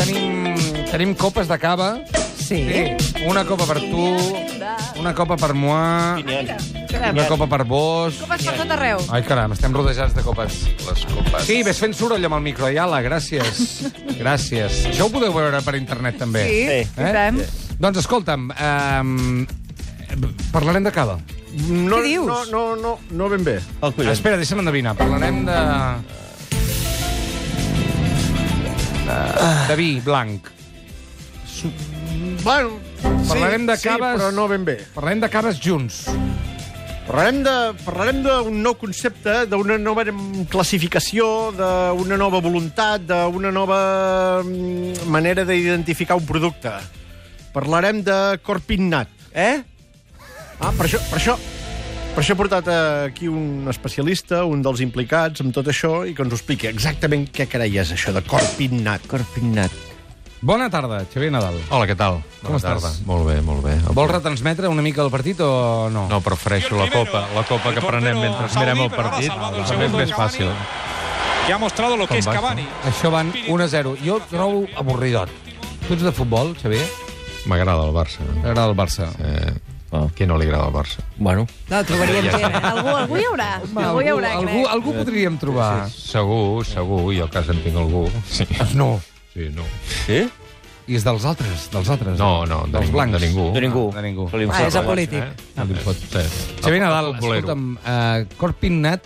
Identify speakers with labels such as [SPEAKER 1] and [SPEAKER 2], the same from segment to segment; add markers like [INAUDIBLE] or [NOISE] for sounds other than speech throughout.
[SPEAKER 1] tenim, tenim copes de cava.
[SPEAKER 2] Sí.
[SPEAKER 1] Sí. Una copa per tu, una copa per moi, una copa per vos...
[SPEAKER 3] Vas per tot arreu.
[SPEAKER 1] Ai, caram, estem rodejats de copes. Les copes. Sí, ves fent soroll amb el micro, Iala, gràcies. gràcies. Això ho podeu veure per internet, també.
[SPEAKER 3] Sí, Eh?
[SPEAKER 2] Sí.
[SPEAKER 3] sí. i tant.
[SPEAKER 1] Doncs escolta'm, eh, parlarem de cava.
[SPEAKER 4] No,
[SPEAKER 3] Què dius?
[SPEAKER 4] No, no, no, no ben bé.
[SPEAKER 2] El
[SPEAKER 1] Collons.
[SPEAKER 2] collons.
[SPEAKER 1] Espera, deixa'm endevinar. Parlarem de... De vi blanc.
[SPEAKER 4] Bueno,
[SPEAKER 1] Parlarem de caves-
[SPEAKER 4] Sí, però no ben bé.
[SPEAKER 1] Parlarem de caves junts.
[SPEAKER 4] Parlarem de- Parlarem d'un nou concepte, d'una nova mm, classificació, d'una nova voluntat, d'una nova mm, manera d'identificar un producte. Parlarem de corpinnat, eh? Ah, per això, per això, per això he portat eh, aquí un especialista, un dels implicats amb tot això, i que ens ho expliqui exactament què carai és això de corpinnat.
[SPEAKER 2] Corpignat.
[SPEAKER 1] Bona tarda, Xavier Nadal.
[SPEAKER 5] Hola, què tal?
[SPEAKER 1] Com
[SPEAKER 5] Bona
[SPEAKER 1] estàs?
[SPEAKER 5] tarda. Molt bé, molt bé.
[SPEAKER 1] Vols retransmetre una mica el partit o no?
[SPEAKER 5] No, prefereixo la copa, la copa que prenem mentre mirem el partit. També és més fàcil.
[SPEAKER 6] que ha mostrado lo que
[SPEAKER 5] Com
[SPEAKER 6] es
[SPEAKER 5] vas,
[SPEAKER 6] Cavani.
[SPEAKER 1] Això van 1-0. Jo el trobo avorridot. Tu ets de futbol, Xavier?
[SPEAKER 5] M'agrada el Barça.
[SPEAKER 1] T'agrada el Barça.
[SPEAKER 5] Eh, qui no li agrada el Barça?
[SPEAKER 2] Bueno.
[SPEAKER 3] No, trobaríem gent. Algú, algú hi haurà. algú hi haurà,
[SPEAKER 1] algú,
[SPEAKER 3] crec.
[SPEAKER 1] algú podríem trobar.
[SPEAKER 5] Segur, segur, i al cas en tinc algú. Sí,
[SPEAKER 1] No.
[SPEAKER 5] sí no.
[SPEAKER 2] Sí?
[SPEAKER 1] I és dels altres, dels altres.
[SPEAKER 5] No, no, de
[SPEAKER 1] dels
[SPEAKER 5] ningú,
[SPEAKER 1] blancs.
[SPEAKER 5] de ningú.
[SPEAKER 2] De ningú.
[SPEAKER 1] De ningú.
[SPEAKER 2] Se li
[SPEAKER 3] Ah,
[SPEAKER 2] fot,
[SPEAKER 3] és el
[SPEAKER 2] eh?
[SPEAKER 3] polític.
[SPEAKER 5] No li pot ser.
[SPEAKER 1] Xavier Nadal,
[SPEAKER 5] Bolero. Ah,
[SPEAKER 1] escolta'm, eh, Corpin Nat...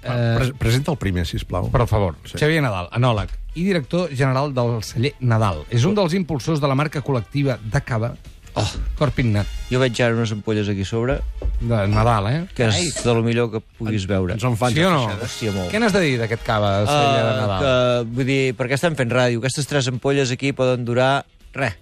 [SPEAKER 1] Eh,
[SPEAKER 4] Pre Presenta el primer, si plau.
[SPEAKER 1] Per favor, sí. Xavier Nadal, anòleg i director general del celler Nadal. És un dels impulsors de la marca col·lectiva de cava, oh. Corpignat,
[SPEAKER 2] Jo veig ara unes ampolles aquí sobre,
[SPEAKER 1] de Nadal, eh?
[SPEAKER 2] que és de lo millor que puguis veure.
[SPEAKER 4] Ens en fan
[SPEAKER 1] sí o no?
[SPEAKER 2] Hòstia, molt.
[SPEAKER 1] Què n'has de dir d'aquest cava,
[SPEAKER 2] Eh,
[SPEAKER 1] celler de Nadal?
[SPEAKER 2] que, vull dir, per què estan fent ràdio? Aquestes tres ampolles aquí poden durar... Res.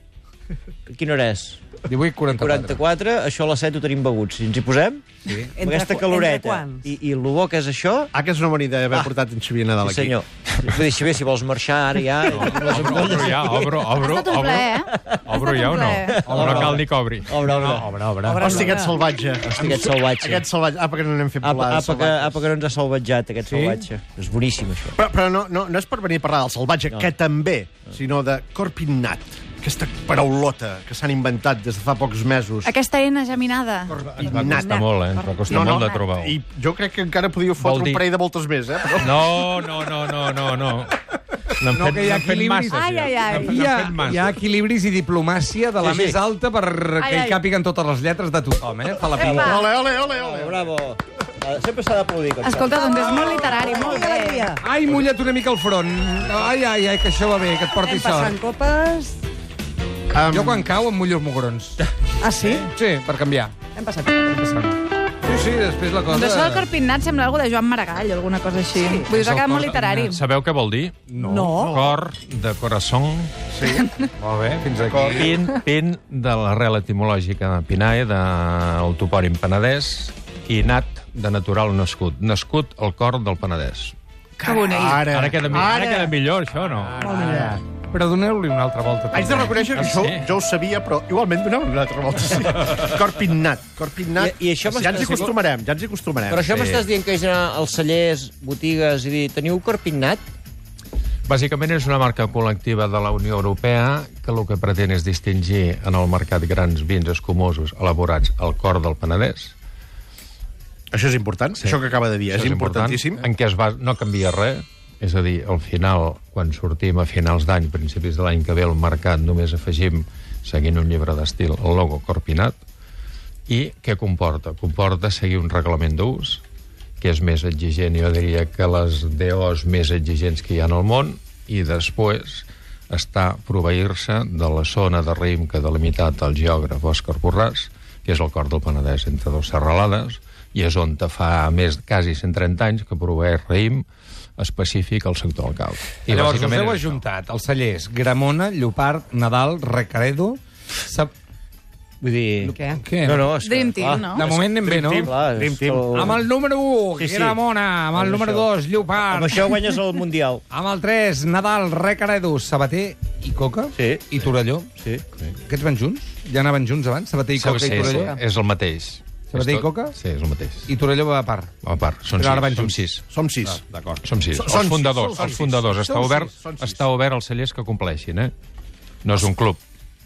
[SPEAKER 2] Quina hora és?
[SPEAKER 1] 1844.
[SPEAKER 2] 44, això a les 7 ho tenim begut. Si ens hi posem, sí.
[SPEAKER 3] Entre qu-
[SPEAKER 2] aquesta
[SPEAKER 3] entre
[SPEAKER 2] caloreta
[SPEAKER 3] quants?
[SPEAKER 2] i, i el bo que és això...
[SPEAKER 4] Ah, que és una bona idea haver ah. portat en Xavier Nadal
[SPEAKER 2] Sí,
[SPEAKER 4] aquí.
[SPEAKER 2] senyor. Vull dir, Xavier, si vols marxar ara ja... No.
[SPEAKER 5] Obro ja, obro, obro,
[SPEAKER 3] Ha estat un
[SPEAKER 5] obro.
[SPEAKER 3] plaer, eh?
[SPEAKER 5] Obro ja o no?
[SPEAKER 2] Obre,
[SPEAKER 5] No cal ni que obri.
[SPEAKER 2] Obre, obre.
[SPEAKER 1] Obra, obra.
[SPEAKER 3] Obra.
[SPEAKER 4] Hòstia, aquest salvatge. Hòstia,
[SPEAKER 2] aquest salvatge. Ah,
[SPEAKER 4] Aquest salvatge. Apa, que no n'hem fet
[SPEAKER 2] Apa,
[SPEAKER 4] volades.
[SPEAKER 2] apa, que, apa que no ens ha salvatjat aquest sí? salvatge. És boníssim, això.
[SPEAKER 4] Però, però no, no, no és per venir a parlar del salvatge, no. que també, sinó de corpignat, aquesta paraulota que s'han inventat des de fa pocs mesos.
[SPEAKER 3] Aquesta eina geminada.
[SPEAKER 5] Ens va costar molt, eh? Ens va costar molt de trobar-ho.
[SPEAKER 4] I jo crec que encara podíeu fotre
[SPEAKER 5] dir-
[SPEAKER 4] un parell de voltes més, eh?
[SPEAKER 5] [LAUGHS]
[SPEAKER 4] Però...
[SPEAKER 5] No, no, no, no, no, no. N'han fet,
[SPEAKER 1] que hi ha
[SPEAKER 5] n'han fet
[SPEAKER 1] equilibris.
[SPEAKER 5] masses,
[SPEAKER 3] Ai,
[SPEAKER 5] ja.
[SPEAKER 3] ai, ai.
[SPEAKER 5] N'han fet-
[SPEAKER 1] Hi ha,
[SPEAKER 5] n'han fet masses.
[SPEAKER 1] hi ha equilibris i diplomàcia de la
[SPEAKER 2] Sí,
[SPEAKER 1] sí,
[SPEAKER 2] sí.
[SPEAKER 1] sí. més alta perquè
[SPEAKER 3] Ai,
[SPEAKER 1] ai,
[SPEAKER 3] ai.
[SPEAKER 1] hi càpiguen totes les lletres de tothom, eh? Fa la
[SPEAKER 3] Epa.
[SPEAKER 1] pila.
[SPEAKER 4] Ole, ole, ole,
[SPEAKER 2] Bravo,
[SPEAKER 4] ole.
[SPEAKER 2] bravo. Ah, Sempre s'ha d'aplaudir. com
[SPEAKER 3] Escolta, doncs és molt literari, molt bé.
[SPEAKER 1] Ai, mulla't una mica el front. Ai, ai, ai, que això va bé, que et porti sort.
[SPEAKER 7] copes...
[SPEAKER 4] Um,
[SPEAKER 1] Jo quan cau em mullo els mugrons.
[SPEAKER 7] Ah, sí?
[SPEAKER 1] Sí, per canviar.
[SPEAKER 7] Hem passat.
[SPEAKER 1] Sí, sí, després la cosa...
[SPEAKER 3] Doncs això del corpinat sembla alguna de Joan Maragall o alguna cosa així. Vull dir,
[SPEAKER 5] És
[SPEAKER 3] s'ha
[SPEAKER 5] el
[SPEAKER 3] quedat
[SPEAKER 5] cor-
[SPEAKER 3] molt literari.
[SPEAKER 5] Sabeu què vol dir?
[SPEAKER 7] No. no.
[SPEAKER 5] Cor de corazón, [LAUGHS]
[SPEAKER 1] Molt bé, fins aquí.
[SPEAKER 5] pin, pin de l'arrel etimològica de pinae, del topònim penedès, i nat de natural nascut. Nascut al cor del penedès.
[SPEAKER 3] Que bonic.
[SPEAKER 4] Ara,
[SPEAKER 5] Ara queda, mi-
[SPEAKER 4] ara,
[SPEAKER 5] ara queda millor, això, no?
[SPEAKER 4] Ara.
[SPEAKER 1] Però doneu-li una altra volta.
[SPEAKER 4] Haig de reconèixer que
[SPEAKER 5] Ah,
[SPEAKER 4] això
[SPEAKER 5] sí?
[SPEAKER 4] jo ho sabia, però igualment donava una altra volta. Sí. Corpignat. Corpignat.
[SPEAKER 2] I- i això
[SPEAKER 4] ja ens hi
[SPEAKER 2] m'està-
[SPEAKER 4] acostumarem, ja ens hi acostumarem.
[SPEAKER 2] Però això m'estàs dient que és anar als cellers, botigues i dir, teniu corpignat?
[SPEAKER 5] Bàsicament és una marca col·lectiva de la Unió Europea que el que pretén és distingir en el mercat grans vins escumosos elaborats al cor del Penedès.
[SPEAKER 4] Això és important, sí. això que acaba de dir.
[SPEAKER 5] Això
[SPEAKER 4] És, Eh? importantíssim.
[SPEAKER 5] En què es va... no canvia res. És a dir, al final, quan sortim a finals d'any, principis de l'any que ve al mercat, només afegim, seguint un llibre d'estil, el logo Corpinat. I què comporta? Comporta seguir un reglament d'ús, que és més exigent, jo diria, que les DOs més exigents que hi ha en el món, i després està proveir-se de la zona de raïm que ha delimitat el geògraf Òscar Borràs, que és el cor del Penedès entre dues serralades, i és on te fa més quasi 130 anys que proveeix raïm específic al sector del cau.
[SPEAKER 1] I llavors us
[SPEAKER 5] bàsicament
[SPEAKER 1] heu
[SPEAKER 5] és això.
[SPEAKER 1] ajuntat els cellers Gramona, Llopart, Nadal, Recaredo... Sap...
[SPEAKER 2] Vull dir...
[SPEAKER 7] Què?
[SPEAKER 1] Què?
[SPEAKER 2] No, no, és
[SPEAKER 3] Dream
[SPEAKER 2] que,
[SPEAKER 3] Team,
[SPEAKER 2] clar,
[SPEAKER 1] De
[SPEAKER 3] no?
[SPEAKER 1] moment anem bé, no?
[SPEAKER 2] Clar, és
[SPEAKER 4] Dream Team.
[SPEAKER 2] que-
[SPEAKER 1] Amb el número 1,
[SPEAKER 2] Sí, sí.
[SPEAKER 1] Gramona, amb el
[SPEAKER 2] Amb
[SPEAKER 1] número
[SPEAKER 2] això.
[SPEAKER 1] 2,
[SPEAKER 2] Amb
[SPEAKER 1] Llopart,
[SPEAKER 2] això guanyes el Mundial.
[SPEAKER 1] amb el 3, Nadal, Recaredo, Sabater i Coca,
[SPEAKER 2] Sí.
[SPEAKER 1] i Torelló.
[SPEAKER 2] Sí.
[SPEAKER 1] Aquests van junts? Ja anaven junts abans, Sabater i
[SPEAKER 5] Saps,
[SPEAKER 1] Coca i
[SPEAKER 5] és,
[SPEAKER 1] Torelló?
[SPEAKER 5] és el mateix.
[SPEAKER 1] Sabadell
[SPEAKER 5] És
[SPEAKER 1] i
[SPEAKER 5] tot-
[SPEAKER 1] Coca?
[SPEAKER 5] Sí, és el mateix. I...
[SPEAKER 1] I Torelló va a part.
[SPEAKER 5] A part, són
[SPEAKER 1] Però ara van
[SPEAKER 5] sis. Són
[SPEAKER 1] junts.
[SPEAKER 5] sis.
[SPEAKER 4] Som sis.
[SPEAKER 1] D'acord.
[SPEAKER 5] Són sis.
[SPEAKER 4] Són-
[SPEAKER 5] els
[SPEAKER 4] són
[SPEAKER 5] fundadors,
[SPEAKER 4] sis, són
[SPEAKER 5] els
[SPEAKER 4] sis.
[SPEAKER 5] fundadors. Està
[SPEAKER 4] Són sis,
[SPEAKER 5] obert,
[SPEAKER 4] són sis.
[SPEAKER 5] està obert als cellers que compleixin, eh? No és un club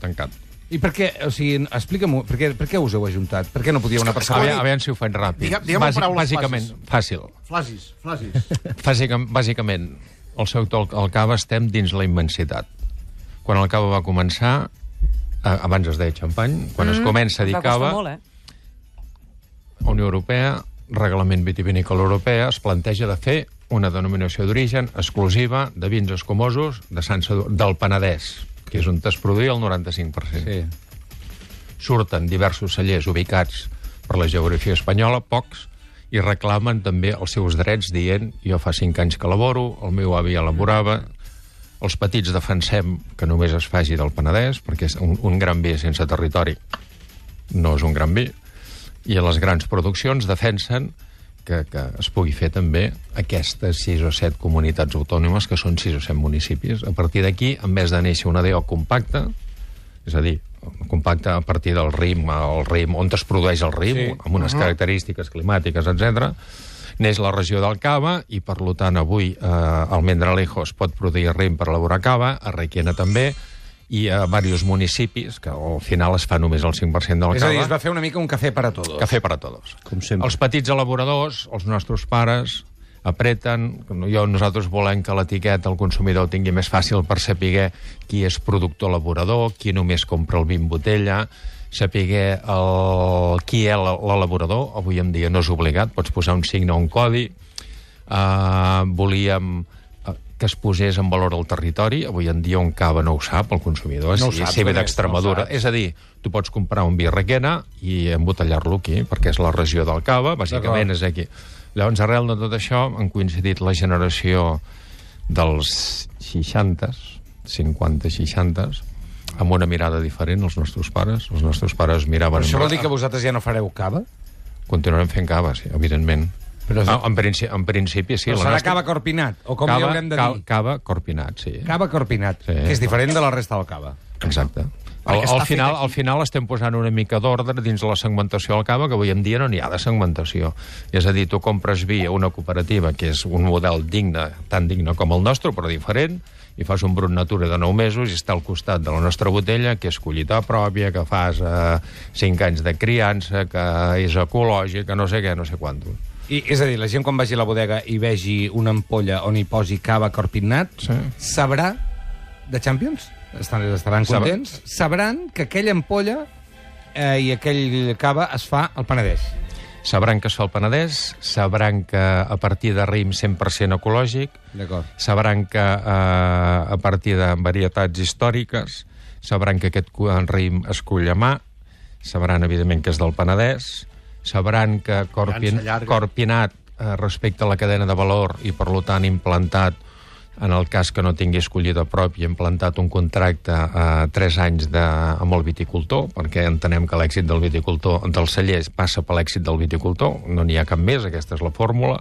[SPEAKER 5] tancat.
[SPEAKER 1] I per què, o sigui, explica'm-ho, per, què- per què us heu ajuntat? Per què no podia una persona...
[SPEAKER 5] Aviam, aviam si ho fan ràpid.
[SPEAKER 4] Digue'm- digue'm amb paraules
[SPEAKER 5] bàsicament, fàcil.
[SPEAKER 4] Flasis, flasis.
[SPEAKER 5] Bàsicament, bàsicament el seu toc al cava estem dins la immensitat. Quan el cava va començar, eh, abans es deia xampany, quan mm, es comença a dir
[SPEAKER 7] Va
[SPEAKER 5] cava,
[SPEAKER 7] costar molt, eh?
[SPEAKER 5] Unió Europea, reglament vitivinícola europea, es planteja de fer una denominació d'origen exclusiva de vins escomosos de Sant Sadú, del Penedès, que és on es produïa el 95%.
[SPEAKER 1] Sí.
[SPEAKER 5] surten diversos cellers ubicats per la geografia espanyola, pocs, i reclamen també els seus drets dient jo fa cinc anys que laboro, el meu avi elaborava, els petits defensem que només es faci del Penedès, perquè és un, un gran vi sense territori no és un gran vi, i les grans produccions defensen que, que es pugui fer també aquestes sis o set comunitats autònomes, que són sis o set municipis. A partir d'aquí, en vez de néixer una DO compacta, és a dir, compacte a partir del rim, el rim on es produeix el rim, sí. amb unes característiques climàtiques, etc. Neix la regió del cava i, per lo tant, avui eh, al Mendralejo es pot produir rim per elaborar cava, a Requena també, i a diversos municipis, que al final es fa només el 5% del
[SPEAKER 1] És a
[SPEAKER 5] cava.
[SPEAKER 1] dir, es va fer una mica un cafè per a tots.
[SPEAKER 5] Cafè per a tots.
[SPEAKER 2] Com sempre.
[SPEAKER 5] Els petits elaboradors, els nostres pares, apreten, jo, nosaltres volem que l'etiqueta el consumidor ho tingui més fàcil per saber qui és productor elaborador, qui només compra el vi en botella, saber el, qui és l'elaborador, avui en dia no és obligat, pots posar un signe o un codi, eh, volíem eh, que es posés en valor el territori. Avui en dia un cava no ho sap, el consumidor,
[SPEAKER 1] No ho
[SPEAKER 5] si,
[SPEAKER 1] saps,
[SPEAKER 5] si ve
[SPEAKER 1] només, no
[SPEAKER 5] d'Extremadura.
[SPEAKER 1] ho saps.
[SPEAKER 5] és a dir, tu pots comprar un vi requena i embotellar-lo aquí, perquè és la regió del cava, bàsicament és aquí. Llavors, arrel de tot això, han coincidit la generació dels 60s, 50-60s, amb una mirada diferent als nostres pares. Els nostres pares miraven...
[SPEAKER 1] Però això
[SPEAKER 5] amb-
[SPEAKER 1] vol dir que vosaltres ja no fareu cava?
[SPEAKER 5] Continuarem fent cava, sí, evidentment.
[SPEAKER 1] Però-
[SPEAKER 5] Però... Ah, en, principi, en principi, sí.
[SPEAKER 1] Però
[SPEAKER 5] la
[SPEAKER 1] serà
[SPEAKER 5] nostra-
[SPEAKER 1] cava corpinat, o com
[SPEAKER 5] cava,
[SPEAKER 1] li haurem de
[SPEAKER 5] ca-
[SPEAKER 1] dir?
[SPEAKER 5] Cava corpinat, sí.
[SPEAKER 1] Cava corpinat,
[SPEAKER 5] Sí.
[SPEAKER 1] que és diferent de la resta del cava.
[SPEAKER 5] Exacte. Al, al, final, al final estem posant una mica d'ordre dins la segmentació al cava, que avui en dia no n'hi ha de segmentació. És a dir, tu compres vi a una cooperativa que és un model digne, tan digne com el nostre, però diferent, i fas un brut natura de 9 mesos i està al costat de la nostra botella, que és collita pròpia, que fas eh, 5 anys de criança, que és ecològic, que no sé què, no sé quantos.
[SPEAKER 1] I, és a dir, la gent quan vagi a la bodega i vegi una ampolla on hi posi cava corpinat,
[SPEAKER 5] Sí.
[SPEAKER 1] sabrà de Champions? Estan, estaran
[SPEAKER 5] Sab-
[SPEAKER 1] contents? Sabran que aquella ampolla eh, i aquell cava es fa al Penedès.
[SPEAKER 5] Sabran que es fa el Penedès, sabran que a partir de raïm 100% ecològic,
[SPEAKER 1] D'acord.
[SPEAKER 5] sabran que eh, a partir de varietats històriques, sabran que aquest cu- raïm es cull a mà, sabran, evidentment, que és del Penedès, sabran que Corpin,
[SPEAKER 4] llarga.
[SPEAKER 5] Corpinat eh, respecte a la cadena de valor i, per lo tant, implantat en el cas que no tingués collida pròpia, implantat un contracte a eh, 3 anys de, amb el viticultor, perquè entenem que l'èxit del viticultor, dels cellers, passa per l'èxit del viticultor, no n'hi ha cap més, aquesta és la fórmula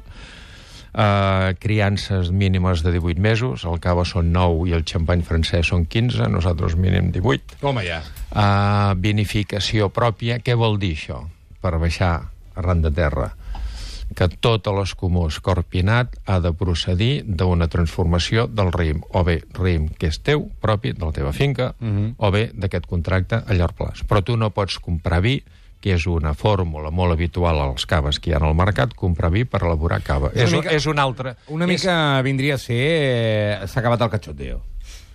[SPEAKER 5] eh, criances mínimes de 18 mesos, el cava són 9 i el xampany francès són 15, nosaltres mínim 18.
[SPEAKER 1] Toma ja.
[SPEAKER 5] Eh, vinificació pròpia, què vol dir això? Per baixar arran de terra que tot l'escumó escorpinat ha de procedir d'una transformació del raïm, o bé raïm que és teu, propi, de la teva finca, uh -huh. o bé d'aquest contracte a llarg plaç. Però tu no pots comprar vi, que és una fórmula molt habitual als caves que hi ha al mercat, comprar vi per elaborar cava. És,
[SPEAKER 1] mica-
[SPEAKER 5] mica, és un altre...
[SPEAKER 1] Una
[SPEAKER 5] és,
[SPEAKER 1] mica vindria a ser... eh, S'ha acabat el cachoteo.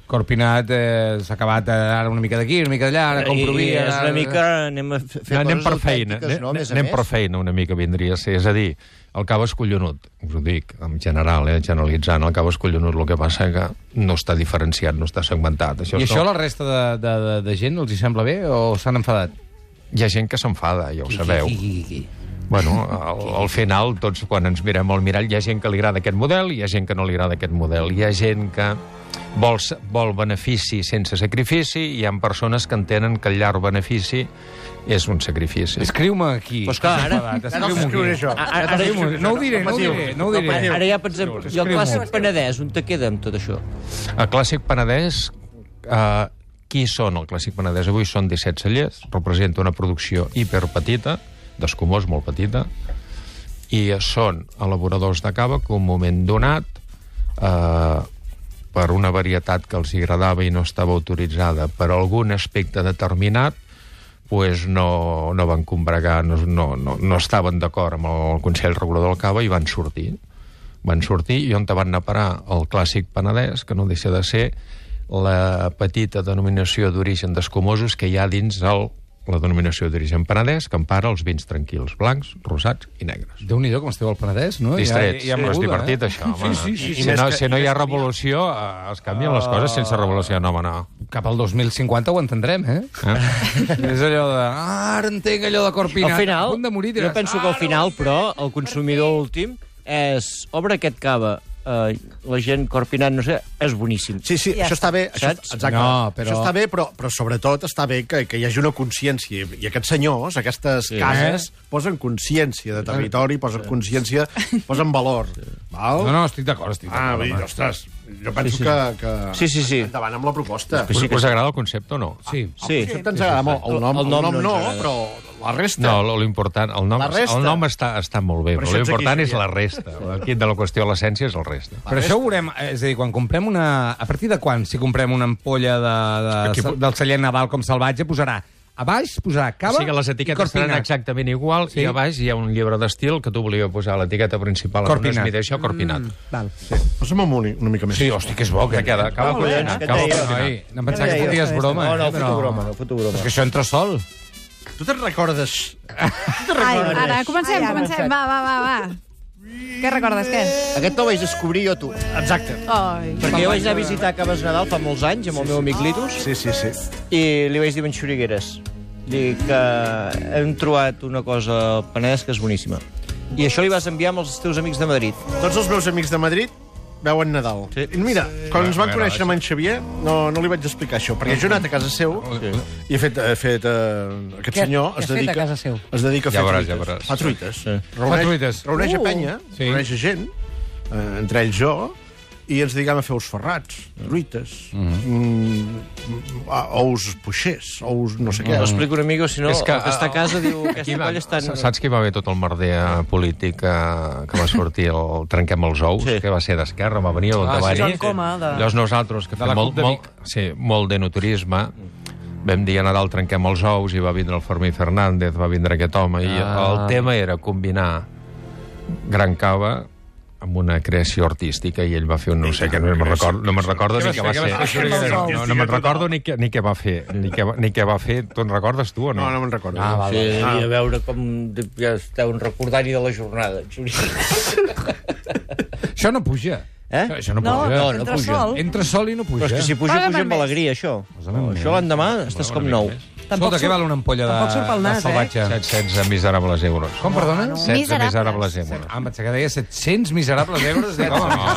[SPEAKER 1] Corpinat eh, s'ha acabat eh, ara una mica d'aquí, una mica d'allà, ara compro vi...
[SPEAKER 2] I és
[SPEAKER 1] ara-
[SPEAKER 2] una mica... Anem a fer
[SPEAKER 5] No, anem
[SPEAKER 2] coses
[SPEAKER 5] per feina,
[SPEAKER 2] autèntiques, no? A
[SPEAKER 5] anem,
[SPEAKER 2] més a
[SPEAKER 5] anem
[SPEAKER 2] més.
[SPEAKER 5] per feina una mica vindria a ser, és a dir, el cava és collonut, us ho dic en general, eh, generalitzant, el cava és collonut, el que passa que no està diferenciat, no està segmentat. Això
[SPEAKER 1] I
[SPEAKER 5] és
[SPEAKER 1] això a
[SPEAKER 5] tot.
[SPEAKER 1] la resta de, de, de, de gent els hi sembla bé o s'han enfadat?
[SPEAKER 5] Hi ha gent que s'enfada, ja ho sabeu.
[SPEAKER 1] Qui, qui, qui, qui.
[SPEAKER 5] Bueno,
[SPEAKER 1] [LAUGHS]
[SPEAKER 5] al, al final, tots quan ens mirem al mirall, hi ha gent que li agrada aquest model, hi ha gent que no li agrada aquest model, hi ha gent que vol, s- vol benefici sense sacrifici, i hi ha persones que entenen que el llarg benefici és un sacrifici.
[SPEAKER 1] Escriu-me aquí.
[SPEAKER 2] Pues clar, ara-
[SPEAKER 1] Escriu-me aquí.
[SPEAKER 2] Ara, ara, ara,
[SPEAKER 1] Escriu-me. No ho diré, no ho diré, no ho diré.
[SPEAKER 2] ara ja, per exemple, i el
[SPEAKER 1] Escriu-ho.
[SPEAKER 2] clàssic penedès, on te queda amb tot això?
[SPEAKER 5] A Clàssic Penedès, eh, qui són el Clàssic Penedès? Avui són 17 cellers, representa una producció hiperpetita, d'escumós, molt petita, i són elaboradors de cava que un moment donat eh, per una varietat que els hi agradava i no estava autoritzada per algun aspecte determinat pues no, no van combregar, no, no, no, no estaven d'acord amb el Consell Regulador del Cava i van sortir. Van sortir i on te van anar a parar? El clàssic Penedès, que no deixa de ser la petita denominació d'origen d'escomosos que hi ha dins el, la denominació d'origen Penedès, que empara els vins tranquils, blancs, rosats i negres.
[SPEAKER 1] Déu-n'hi-do com esteu al Penedès, no?
[SPEAKER 5] Distrets. Ja, ja, ja és
[SPEAKER 1] moguda,
[SPEAKER 5] divertit,
[SPEAKER 1] eh?
[SPEAKER 5] això, home.
[SPEAKER 1] Sí, sí, sí.
[SPEAKER 5] si, no, si no hi ha revolució, eh, es canvien les coses sense revolució. No, home, no.
[SPEAKER 1] Cap al 2050 ho entendrem, eh?
[SPEAKER 5] Eh?
[SPEAKER 1] [LAUGHS] és allò de... Ah, ara entenc allò de Corpina.
[SPEAKER 2] Al final,
[SPEAKER 1] A punt de morir, diràs,
[SPEAKER 2] jo penso
[SPEAKER 3] Ah,
[SPEAKER 2] que al final, però, el consumidor últim és... Obre aquest cava, eh, la gent corpinant, no sé, és boníssim.
[SPEAKER 4] Sí, sí,
[SPEAKER 3] Ja
[SPEAKER 4] això està bé. Això,
[SPEAKER 2] Saps?
[SPEAKER 4] exacte.
[SPEAKER 1] No, però-
[SPEAKER 4] Això està bé, però, però sobretot està bé que, que hi hagi una consciència. I aquests senyors, aquestes sí. cases, posen consciència de territori, posen consciència, posen valor. Val?
[SPEAKER 1] No, no, estic d'acord, estic
[SPEAKER 4] Ah,
[SPEAKER 1] d'acord.
[SPEAKER 4] vull dir,
[SPEAKER 1] home.
[SPEAKER 4] ostres, jo
[SPEAKER 2] Sí,
[SPEAKER 4] penso
[SPEAKER 2] sí.
[SPEAKER 4] que, que...
[SPEAKER 2] Sí, sí, sí.
[SPEAKER 4] Endavant amb la proposta.
[SPEAKER 5] Us, us agrada el concepte o no?
[SPEAKER 1] sí.
[SPEAKER 2] Sí.
[SPEAKER 4] El concepte ens agrada molt. El nom, el nom, no, però la resta...
[SPEAKER 5] No, lo- lo important, el nom,
[SPEAKER 4] La resta.
[SPEAKER 5] el nom està, està molt bé,
[SPEAKER 4] Per
[SPEAKER 5] però
[SPEAKER 4] això
[SPEAKER 5] lo
[SPEAKER 4] ets aquí,
[SPEAKER 5] important és
[SPEAKER 4] Xavier.
[SPEAKER 5] la resta. El quid de la qüestió, l'essència és el resta.
[SPEAKER 1] Però això ho veurem, eh, és a dir, quan comprem una... A partir de quan, si comprem una ampolla de, de,
[SPEAKER 5] Aquí po-
[SPEAKER 1] del celler naval com salvatge, posarà a baix posarà
[SPEAKER 5] O
[SPEAKER 1] cava
[SPEAKER 5] sigui que les etiquetes
[SPEAKER 1] i
[SPEAKER 5] seran
[SPEAKER 1] corpina.
[SPEAKER 5] exactament igual sí. i a baix hi ha un llibre d'estil que tu volia posar l'etiqueta principal.
[SPEAKER 1] Corpinat.
[SPEAKER 5] Corpinat. Això, corpinat. Mm.
[SPEAKER 1] Val.
[SPEAKER 4] Posa'm un, uni- una mica més.
[SPEAKER 5] Sí, hosti, que és bo. Que queda, acaba corpinat.
[SPEAKER 2] què
[SPEAKER 5] Acaba
[SPEAKER 2] deia?
[SPEAKER 5] corpinat.
[SPEAKER 1] No em pensava que foties broma.
[SPEAKER 2] No, no,
[SPEAKER 1] eh, però-
[SPEAKER 2] foto broma, no, foto broma.
[SPEAKER 1] És que això entra sol.
[SPEAKER 4] Tu te'n recordes...
[SPEAKER 3] Ai, ara, comencem,
[SPEAKER 7] Ai, ara.
[SPEAKER 3] comencem. Va, va, va, va. Què recordes, què?
[SPEAKER 2] Aquest no ho vaig descobrir jo, tu.
[SPEAKER 4] Exacte.
[SPEAKER 3] Ai.
[SPEAKER 2] Perquè jo vaig anar a visitar Caves Nadal fa molts anys amb el meu amic Litus
[SPEAKER 4] Sí, sí, sí.
[SPEAKER 2] i li vaig dir Ben Xurigueres dic que hem trobat una cosa al Penedès que és boníssima. I això li vas enviar amb els teus amics de Madrid.
[SPEAKER 4] Tots els meus amics de Madrid veuen Nadal.
[SPEAKER 2] Sí.
[SPEAKER 4] I mira, quan ens
[SPEAKER 5] M'agrada,
[SPEAKER 4] van conèixer amb
[SPEAKER 5] això.
[SPEAKER 4] en Xavier, no, no li vaig explicar això, perquè jo he anat a casa seu i he fet... He fet eh, aquest
[SPEAKER 7] Què-
[SPEAKER 4] senyor
[SPEAKER 7] què ha
[SPEAKER 4] es
[SPEAKER 7] fet
[SPEAKER 4] dedica,
[SPEAKER 7] a casa seu?
[SPEAKER 4] Es dedica a fer
[SPEAKER 5] Ja veuràs, ja
[SPEAKER 4] truites.
[SPEAKER 5] veuràs.
[SPEAKER 4] Fa truites.
[SPEAKER 2] Sí.
[SPEAKER 4] Reuneix,
[SPEAKER 1] Fa truites.
[SPEAKER 4] Reuneix
[SPEAKER 1] Uh.
[SPEAKER 4] a penya,
[SPEAKER 1] Sí.
[SPEAKER 4] reuneix a gent, eh, entre ells jo, i ens dedicam a fer ous ferrats, truites,
[SPEAKER 1] Mhm.
[SPEAKER 4] mm, a- ous puixers, ous no
[SPEAKER 1] Mhm.
[SPEAKER 4] sé què.
[SPEAKER 2] Ho explico una mica, o si no,
[SPEAKER 5] És que,
[SPEAKER 2] el que està a casa diu
[SPEAKER 5] Aquí
[SPEAKER 2] aquesta
[SPEAKER 5] va,
[SPEAKER 2] colla està... en-
[SPEAKER 5] saps que hi va haver tot el merder eh, polític eh, que va sortir el Trenquem els ous,
[SPEAKER 2] Sí.
[SPEAKER 5] que va ser d'esquerra, va venir el
[SPEAKER 1] Ah, sí,
[SPEAKER 5] Tabari.
[SPEAKER 1] Joan
[SPEAKER 7] Coma, de-
[SPEAKER 5] Llavors nosaltres, que
[SPEAKER 1] De la
[SPEAKER 5] fem molt,
[SPEAKER 1] CUP de
[SPEAKER 5] molt, sí, molt de naturisme, vam dir a Nadal trenquem els ous i va vindre el Fermí Fernández, va vindre aquest home, ah. i el tema era combinar Gran Cava amb una creació artística i ell va fer un no sé què, no me'n recordo, no me'n recordo ni
[SPEAKER 6] Què
[SPEAKER 5] què
[SPEAKER 6] va
[SPEAKER 5] va
[SPEAKER 6] fer, què
[SPEAKER 5] ser.
[SPEAKER 6] va fer,
[SPEAKER 5] No,
[SPEAKER 6] Xurigueres?
[SPEAKER 5] no, no me'n recordo ni què, ni què va fer, ni què, va- ni què va fer. Tu en recordes, tu, o no?
[SPEAKER 4] No, no me'n recordo.
[SPEAKER 1] Ah, val,
[SPEAKER 2] Sí, devia veure com ja esteu en recordari de la jornada.
[SPEAKER 1] Això no puja.
[SPEAKER 2] Eh?
[SPEAKER 1] Això, això no,
[SPEAKER 7] No,
[SPEAKER 1] puja.
[SPEAKER 7] no, no entra puja. sol.
[SPEAKER 1] Entra sol i no puja.
[SPEAKER 2] Però és que si puja,
[SPEAKER 3] Paga'm
[SPEAKER 2] puja amb
[SPEAKER 3] més.
[SPEAKER 2] alegria, això.
[SPEAKER 1] dóna'm més.
[SPEAKER 2] Això l'endemà estàs com nou.
[SPEAKER 7] Tampoc
[SPEAKER 1] Escolta,
[SPEAKER 7] surt-
[SPEAKER 1] què val una ampolla de,
[SPEAKER 7] tampoc surt pel
[SPEAKER 1] de
[SPEAKER 7] nas, eh?
[SPEAKER 1] salvatge?
[SPEAKER 5] 716 miserables euros.
[SPEAKER 1] Com, perdona? No,
[SPEAKER 5] 16 miserables euros.
[SPEAKER 1] Ah, em pensava que deia 700 miserables euros. Dic, home, no.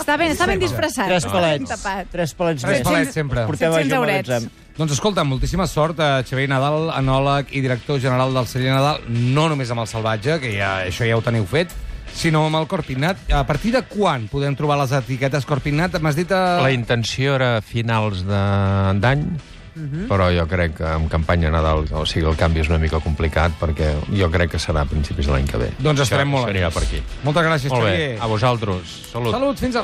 [SPEAKER 3] Està ben, està ben disfressat.
[SPEAKER 2] Tres
[SPEAKER 3] està ben
[SPEAKER 2] palets.
[SPEAKER 3] tapat.
[SPEAKER 2] Tres palets
[SPEAKER 1] Tres
[SPEAKER 2] més.
[SPEAKER 1] palets sempre.
[SPEAKER 2] Portem a
[SPEAKER 3] 700
[SPEAKER 2] Joan
[SPEAKER 3] eurets.
[SPEAKER 2] Magatzem.
[SPEAKER 1] Doncs escolta, moltíssima sort a Xavier Nadal, enòleg i director general del Celler Nadal, no només amb el Salvatge, que ja, això ja ho teniu fet, sinó amb el Corpinat. A partir de quan podem trobar les etiquetes Corpinat? M'has dit... eh, A...
[SPEAKER 5] La intenció era finals de- d'any, però jo crec que amb campanya Nadal, o sigui, el canvi és una mica complicat, perquè jo crec que serà a principis de l'any que ve.
[SPEAKER 1] Doncs estarem molt
[SPEAKER 5] Seria
[SPEAKER 1] atents.
[SPEAKER 5] per aquí.
[SPEAKER 1] Moltes gràcies,
[SPEAKER 5] Molt bé,
[SPEAKER 1] Xavier.
[SPEAKER 5] a vosaltres. Salut.
[SPEAKER 1] Salut, fins ara.